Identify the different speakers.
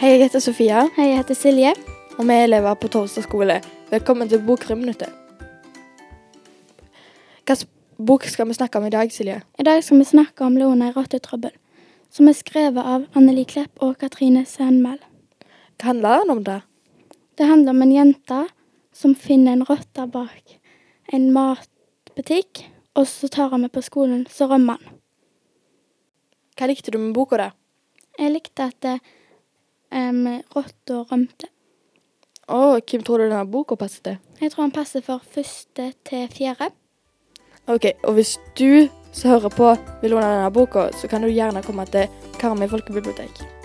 Speaker 1: Hei, jeg heter Sofia,
Speaker 2: Hei, jeg heter Silje.
Speaker 1: og vi er elever på Tolstad skole. Velkommen til Bokrymminuttet. Hvilken bok skal vi snakke om i dag, Silje?
Speaker 2: I dag skal vi snakke om Leone i rottetrøbbel, som er skrevet av Anneli Klepp og Katrine Sandmæl.
Speaker 1: Hva handler den om, da?
Speaker 2: Det handler om en jente som finner en rotte bak en matbutikk, og så tar han med på skolen, så rømmer han.
Speaker 1: Hva likte du med boka, da?
Speaker 2: Jeg likte at um, rotta rømte.
Speaker 1: Og hvem tror du denne boka passer til?
Speaker 2: Jeg tror han passer for første til fjerde.
Speaker 1: Ok, og hvis du som hører på vil låne denne boka, så kan du gjerne komme til Karmøy folkebibliotek.